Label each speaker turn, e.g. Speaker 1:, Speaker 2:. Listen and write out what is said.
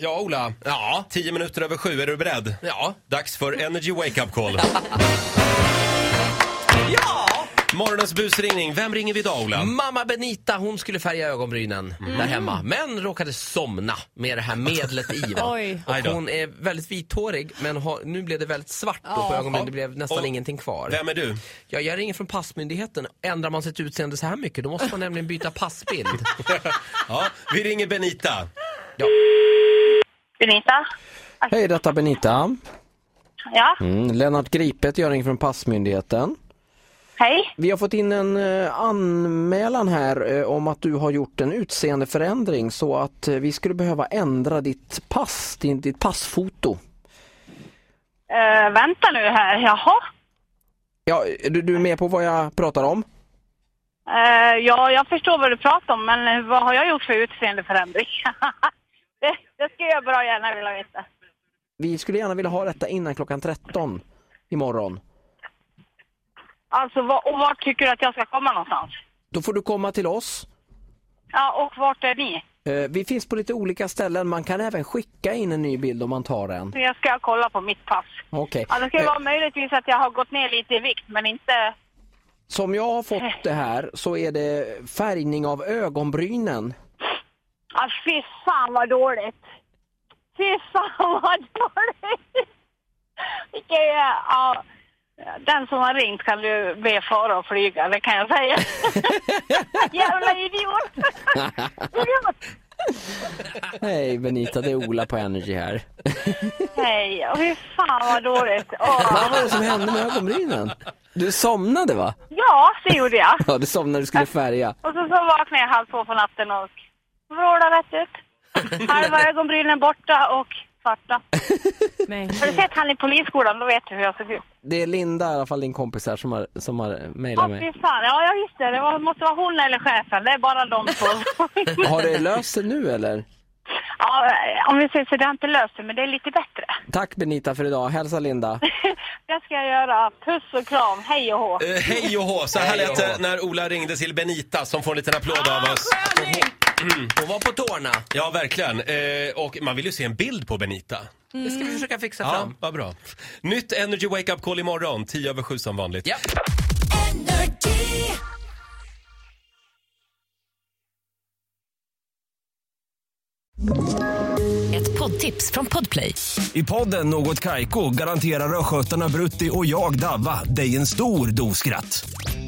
Speaker 1: Ja, Ola.
Speaker 2: Ja.
Speaker 1: Tio minuter över sju, är du beredd?
Speaker 2: Ja.
Speaker 1: Dags för Energy Wake Up Call.
Speaker 2: Ja!
Speaker 1: Morgonens busringning. Vem ringer vi idag, Ola?
Speaker 3: Mm.
Speaker 2: Mamma Benita hon skulle färga ögonbrynen
Speaker 4: Mm.
Speaker 2: där hemma men råkade somna med det här medlet i. Va?
Speaker 4: Oj.
Speaker 1: Aj då.
Speaker 2: Och hon är väldigt vithårig men har, nu blev det väldigt svart då på
Speaker 4: Ja.
Speaker 2: ögonbrynen. Det blev nästan
Speaker 1: Och-
Speaker 2: ingenting kvar.
Speaker 1: Vem är du?
Speaker 2: Ja, jag ringer från Passmyndigheten. Ändrar man sitt utseende så här mycket då måste man nämligen byta passbild.
Speaker 1: Ja, vi ringer Benita.
Speaker 2: Ja.
Speaker 5: Benita?
Speaker 6: Hej, detta är Benita.
Speaker 5: Ja,
Speaker 6: Mm, Lennart Gripet, jag ringer från Passmyndigheten.
Speaker 5: hej.
Speaker 6: Vi har fått in en eh, anmälan här eh, om att du har gjort en utseendeförändring så att eh, vi skulle behöva ändra ditt pass, din, ditt passfoto.
Speaker 5: Eh, vänta nu här, jaha.
Speaker 6: Ja, är du, du är med på vad jag pratar om?
Speaker 5: Eh, ja, jag förstår vad du pratar om, men vad har jag gjort för utseendeförändring? det, det skulle jag bra gärna vilja veta.
Speaker 6: Vi skulle gärna vilja ha detta innan klockan 13 imorgon.
Speaker 5: Alltså, va, och vart tycker du att jag ska komma någonstans?
Speaker 6: Då får du komma till oss.
Speaker 5: Ja, och vart är ni?
Speaker 6: Eh, Vi finns på lite olika ställen. Man kan även skicka in en ny bild om man tar en.
Speaker 5: Jag ska kolla på mitt pass.
Speaker 6: Okej.
Speaker 5: Ja, det ska ju
Speaker 6: Eh,
Speaker 5: vara möjligtvis att jag har gått ner lite i vikt, men inte...
Speaker 6: Som jag har fått det här så är det färgning av ögonbrynen.
Speaker 5: Ja, fy fan vad dåligt! Fy fan vad dåligt! Vilken... Ja, den som har ringt kan du be fara och flyga, det kan jag säga. Jävla idiot! idiot.
Speaker 6: Hej Benita, det är Ola på Energy här.
Speaker 5: Hej, och fy fan vad dåligt. Åh.
Speaker 6: Vad var det som hände med ögonbrynen? Du somnade va?
Speaker 5: Ja, det gjorde jag.
Speaker 6: Ja, du somnade när du skulle färga.
Speaker 5: Och så, så vaknade jag halv två på natten och vrålade rätt ut. Halva ögonbrynen borta och svarta.
Speaker 4: Men
Speaker 5: Har du sett han i polisskolan? Då vet du hur jag såg ut.
Speaker 6: Det är Linda i alla fall, din kompis här, som har, som har
Speaker 5: Ja,
Speaker 6: mejlat mig.
Speaker 5: fy fan. Ja, jag visste det. Det var- måste vara hon eller chefen. Det är bara de två.
Speaker 6: Har det löst sig nu eller?
Speaker 5: ja, om vi säger så, det har inte löst det, men det är lite bättre.
Speaker 6: Tack Benita för idag, hälsa Linda.
Speaker 5: det ska jag göra. Puss och kram. Hej och hå.
Speaker 1: Eh, hej och hå! Så här
Speaker 2: Hej och
Speaker 1: lät det
Speaker 2: hå.
Speaker 1: när Ola ringde till Benita som får en liten applåd av oss.
Speaker 3: Ah,
Speaker 2: Hon var på tårna.
Speaker 1: Ja, verkligen. Eh, och man vill ju se en bild på Benita.
Speaker 2: Det ska vi försöka fixa
Speaker 1: Ja,
Speaker 2: fram.
Speaker 1: vad bra. Nytt Energy Wake Up Call imorgon, 10 över 7 som vanligt.
Speaker 2: Ja.
Speaker 7: Ett poddtips från Podplay.
Speaker 3: I podden Något Kaiko garanterar östgötarna Brutti och jag, Davva, dig en stor dos skratt.